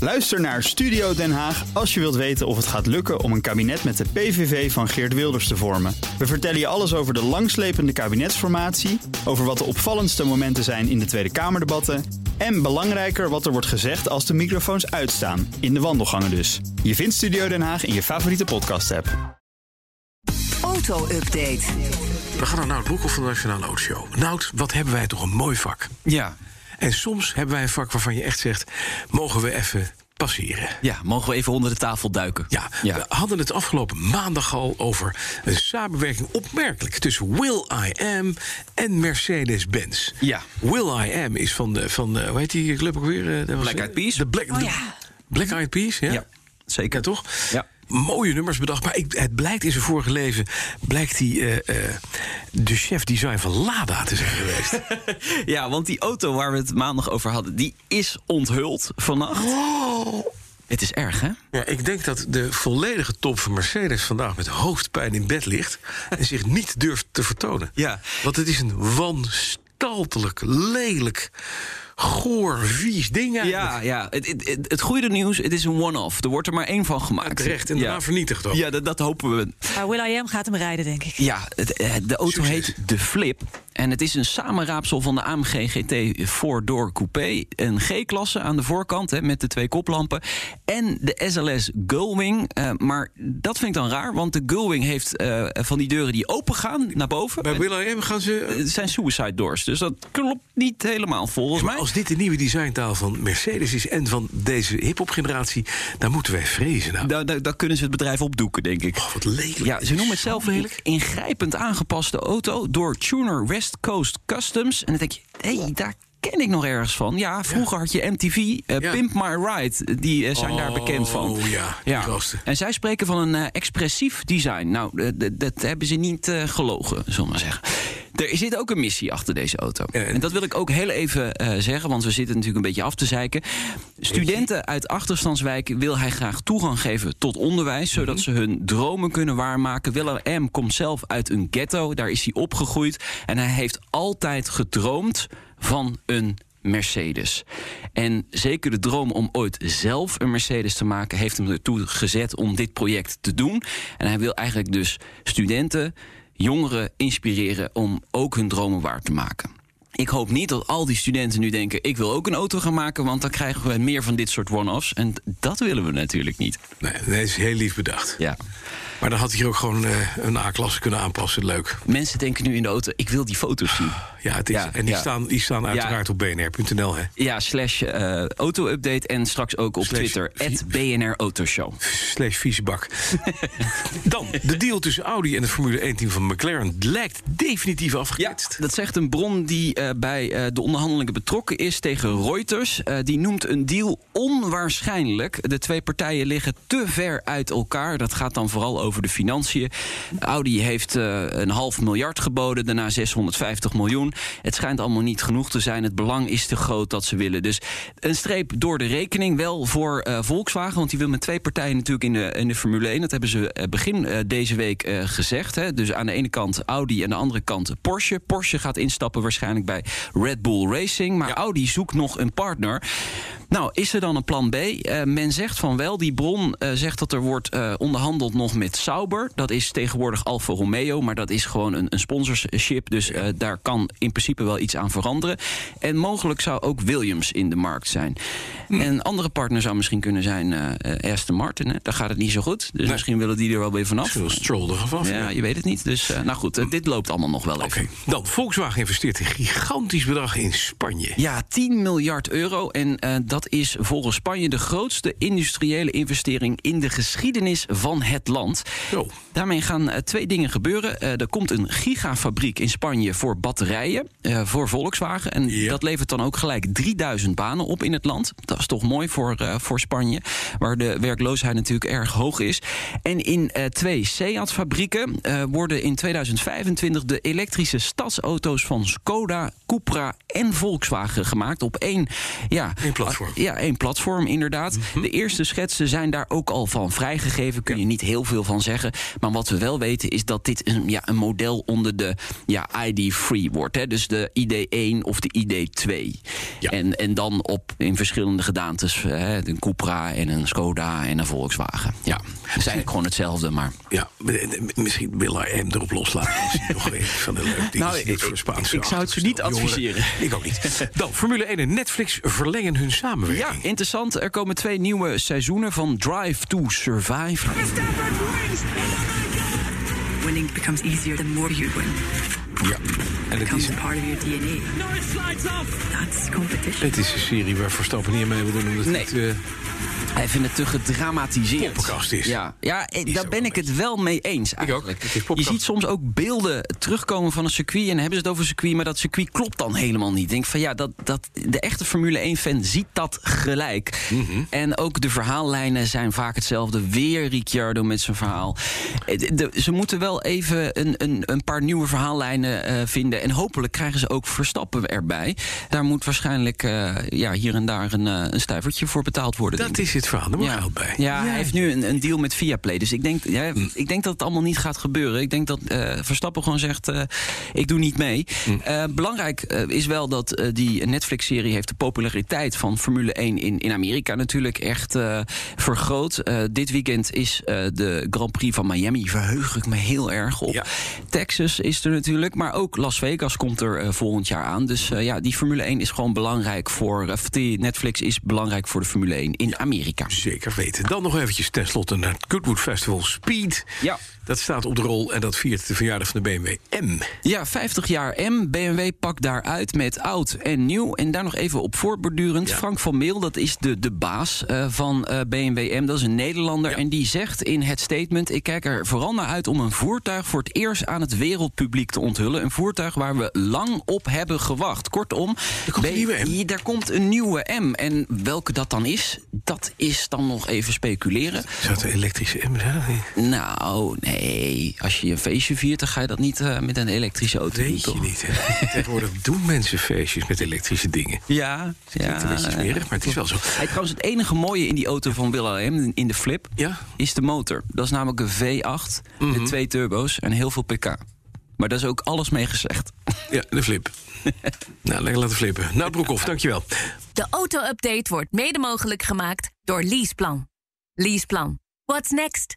Luister naar Studio Den Haag als je wilt weten of het gaat lukken om een kabinet met de PVV van Geert Wilders te vormen. We vertellen je alles over de langslepende kabinetsformatie, over wat de opvallendste momenten zijn in de Tweede Kamerdebatten en belangrijker wat er wordt gezegd als de microfoons uitstaan, in de wandelgangen dus. Je vindt Studio Den Haag in je favoriete podcast-app. Auto-update. We gaan naar Nout Broekhoff van de Nationale Autoshow. Nout, wat hebben wij toch een mooi vak. Ja, En soms hebben wij een vak waarvan je echt zegt... mogen we even passeren? ja, mogen we even onder de tafel duiken? Ja, ja. we hadden het afgelopen maandag al over een samenwerking opmerkelijk tussen Will I Am en Mercedes-Benz. Ja. Will I Am is van de, van de, hoe heet die club ook weer? Eh, dat was- Black Eyed Peas. De Oh Black, de Black Eyed Peas, ja. Ja, zeker. Ja, toch? Ja. Mooie nummers bedacht, maar ik, het blijkt in zijn vorige leven... blijkt hij eh, eh, de chef-design van Lada te zijn geweest. Ja, want die auto waar we het maandag over hadden, die is onthuld vannacht. Oh. Het is erg, hè? Ja, ik denk dat de volledige top van Mercedes vandaag met hoofdpijn in bed ligt en zich niet durft te vertonen. Ja. Want het is een wanstaltelijk, lelijk, goor, vies ding eigenlijk. Ja, ja. Het, het, het, het goede nieuws, het is een one-off. Er wordt er maar één van gemaakt. Terecht en ja. daarna vernietigd ook. Ja, dat, dat hopen we. Maar Will I Am gaat hem rijden, denk ik. Ja, het- eh, de auto Succes. heet de Flip. En het is een samenraapsel van de AMG GT 4-door coupé. Een G-klasse aan de voorkant hè, met de twee koplampen. En de SLS Gullwing. Eh, maar dat vind ik dan raar, want de Gullwing heeft eh, van die deuren die open gaan naar boven. Bij En Will.i.am gaan ze... eh, Het zijn suicide doors, dus dat klopt niet helemaal volgens Maar mij. als dit de nieuwe designtaal van Mercedes is en van deze hip-hop generatie, dan moeten wij vrezen. Nou. Daar daar- daar kunnen ze het bedrijf opdoeken, denk ik. Oh, wat lelijk. Ja, ze noemen het zelf een ingrijpend aangepaste auto door tuner West Coast Customs. En dan denk je, hé, hey, daar ken ik nog ergens van. Ja, vroeger had je MTV, eh, Ja. Pimp My Ride, die eh, zijn daar bekend van. Oh ja, die gasten. En zij spreken van een eh, expressief design. Nou, eh, d- dat hebben ze niet eh, gelogen, zullen we maar zeggen. Er zit ook een missie achter deze auto. Eh, En dat wil ik ook heel even eh, zeggen, want we zitten natuurlijk een beetje af te zeiken. Studenten uit achterstandswijken wil hij graag toegang geven tot onderwijs, zodat ze hun dromen kunnen waarmaken. Willem M. komt zelf uit een ghetto, daar is hij opgegroeid. En hij heeft altijd gedroomd van een Mercedes. En zeker de droom om ooit zelf een Mercedes te maken... heeft hem ertoe gezet om dit project te doen. En hij wil eigenlijk dus studenten, jongeren inspireren... om ook hun dromen waar te maken. Ik hoop niet dat al die studenten nu denken... ik wil ook een auto gaan maken, want dan krijgen we meer van dit soort one-offs. En dat willen we natuurlijk niet. Nee, dat is heel lief bedacht. Ja. Maar dan had hij hier ook gewoon eh, een A-klasse kunnen aanpassen. Leuk. Mensen denken nu in de auto, ik wil die foto's zien. Ja, het is, Ja, en die, ja. staan, die staan uiteraard op bnr.nl. Hè. Ja, slash eh, auto-update en straks ook op Slash Twitter. vi- @BNRAutoshow. BNR Autoshow. Slash viesbak. Dan, de deal tussen Audi en het Formule 1-team van McLaren lijkt definitief Ja, afgeketst. dat zegt een bron die eh, bij eh, de onderhandelingen betrokken is tegen Reuters. Eh, die noemt een deal onwaarschijnlijk. De twee partijen liggen te ver uit elkaar. Dat gaat dan vooral over de financiën. Audi heeft eh, een half miljard geboden, daarna 650 miljoen. Het schijnt allemaal niet genoeg te zijn. Het belang is te groot dat ze willen. Dus een streep door de rekening, wel voor eh, Volkswagen. Want die wil met twee partijen natuurlijk in de, in de Formule 1. Dat hebben ze eh, begin eh, deze week eh, gezegd. Hè. Dus aan de ene kant Audi en aan de andere kant Porsche. Porsche gaat instappen waarschijnlijk bij Red Bull Racing. Maar Audi zoekt nog een partner. Nou, is er dan een plan B? Eh, men zegt van wel, die bron eh, zegt dat er wordt eh, onderhandeld nog met Sauber. Dat is tegenwoordig Alfa Romeo, maar dat is gewoon een, een sponsorship. Dus eh, daar kan in principe wel iets aan veranderen. En mogelijk zou ook Williams in de markt zijn. En een andere partner zou misschien kunnen zijn eh, eh, Aston Martin. Hè? Daar gaat het niet zo goed. Dus misschien willen die er wel weer vanaf. Ze wil Stroll er vanaf. Ja, ja. je weet het niet. Dus eh, nou goed, eh, dit loopt allemaal nog wel even. Oké, dan Volkswagen investeert een gigantisch bedrag in Spanje. Ja, 10 miljard euro. En eh, dat is volgens Spanje de grootste industriële investering in de geschiedenis van het land. Zo. Daarmee gaan eh, twee dingen gebeuren. Eh, er komt een gigafabriek in Spanje voor batterijen, eh, voor Volkswagen. En Ja. dat levert dan ook gelijk 3000 banen op in het land. Dat is toch mooi voor, eh, voor Spanje, waar de werkloosheid natuurlijk erg hoog is. En in eh, twee Seat-fabrieken eh, worden in 2025 de elektrische stadsauto's van Skoda, Cupra en Volkswagen gemaakt op één, ja, Eén platform. platform. Mhm. Ja, één platform inderdaad. De eerste schetsen zijn daar ook al van vrijgegeven. Kun je niet heel veel van zeggen. Maar wat we wel weten is dat dit een, ja, een model onder de ja, ID-free wordt. Hè? Dus de ID1 of de ID2. Ja. En, en dan op in verschillende gedaantes. Hè? Een Cupra en een Skoda en een Volkswagen. Ja, het is eigenlijk gewoon hetzelfde, maar... Ja, misschien Willa M erop loslaten. Dat is nog een van de leuke dingen. Nou, Die is ik- voor Spaanse ik zou het ze niet achterstand. Jongeren, adviseren. ik ook niet. Dan, Formule 1 en Netflix verlengen hun Ja, samenwerking. interessant. Er komen twee nieuwe seizoenen van Drive to Survive. Winning becomes easier the more you win. Ja, en het is, Becomes part of your DNA. No, it slides off. That's competition. het is een serie waar Verstappen niet aan mee wil doen. Omdat Nee. het, eh, Hij vindt het te gedramatiseerd. Poppenkast is. Ja, ja eh, daar ook ben wel ik het wel mee eens ook. Het eigenlijk. is Je poppenkast. ziet soms ook beelden terugkomen van een circuit... en dan hebben ze het over een circuit, maar dat circuit klopt dan helemaal niet. Ik denk van ja, dat, dat, de echte Formule 1-fan ziet dat gelijk. Mhm. En ook de verhaallijnen zijn vaak hetzelfde. Weer Ricciardo met zijn verhaal. Eh, de- de- ze moeten wel even een, een, een paar nieuwe verhaallijnen eh, vinden... en hopelijk krijgen ze ook Verstappen erbij. Daar moet waarschijnlijk eh, ja, hier en daar een, eh, een stuivertje voor betaald worden. denk dat ik. is het verhaal. Daar moet geld bij. Hm. Ja, hij heeft nu een, een deal met Viaplay. Dus ik denk, ja, ik denk dat het allemaal niet gaat gebeuren. Ik denk dat eh, Verstappen gewoon zegt, eh, ik doe niet mee. Hm. Eh, belangrijk eh, is wel dat eh, die Netflix-serie heeft de populariteit van Formule 1 in, in Amerika natuurlijk echt eh, vergroot. Eh, dit weekend is eh, de Grand Prix van Miami. Verheug ik me heel erg op. Ja. Texas is er natuurlijk, maar ook Las Vegas komt er eh, volgend jaar aan. Dus eh, ja, die Formule 1 is gewoon belangrijk voor... of die Netflix is belangrijk voor de Formule 1 in Amerika. Zeker weten. Dan nog eventjes tenslotte naar het Goodwood Festival Speed. Ja. Dat staat op de rol en dat viert de verjaardag van de BMW M. Ja, 50 jaar M. BMW pakt daaruit met oud en nieuw. En daar nog even op voortbordurend. Ja. Frank van Meel, dat is de, de baas eh, van eh, BMW M. Dat is een Nederlander. En die zegt in het statement... ik kijk er vooral naar uit om een voertuig voor het eerst aan het wereldpubliek te onthullen. Een voertuig waar we lang op hebben gewacht. Kortom, komt een B- nieuwe M. ja, daar komt een nieuwe M. En welke dat dan is, dat is dan nog even speculeren. Zou het een elektrische M zijn? Nou, nee. Als je een feestje viert, dan ga je dat niet eh, met een elektrische auto doen, Weet je toch? niet. Hè? Tegenwoordig doen mensen feestjes met elektrische dingen. Ja, ja. Klinkt een beetje smerig, maar het is wel zo. Hey, trouwens, het enige mooie in die auto van Willem in de Flip Ja? is de motor. Dat is namelijk een V8 met twee turbo's en heel veel pk. Maar daar is ook alles mee gezegd. Ja, de flip. nou, lekker laten flippen. Nou, Broekhoff, dankjewel. De auto-update wordt mede mogelijk gemaakt door Leaseplan. Leaseplan. What's next?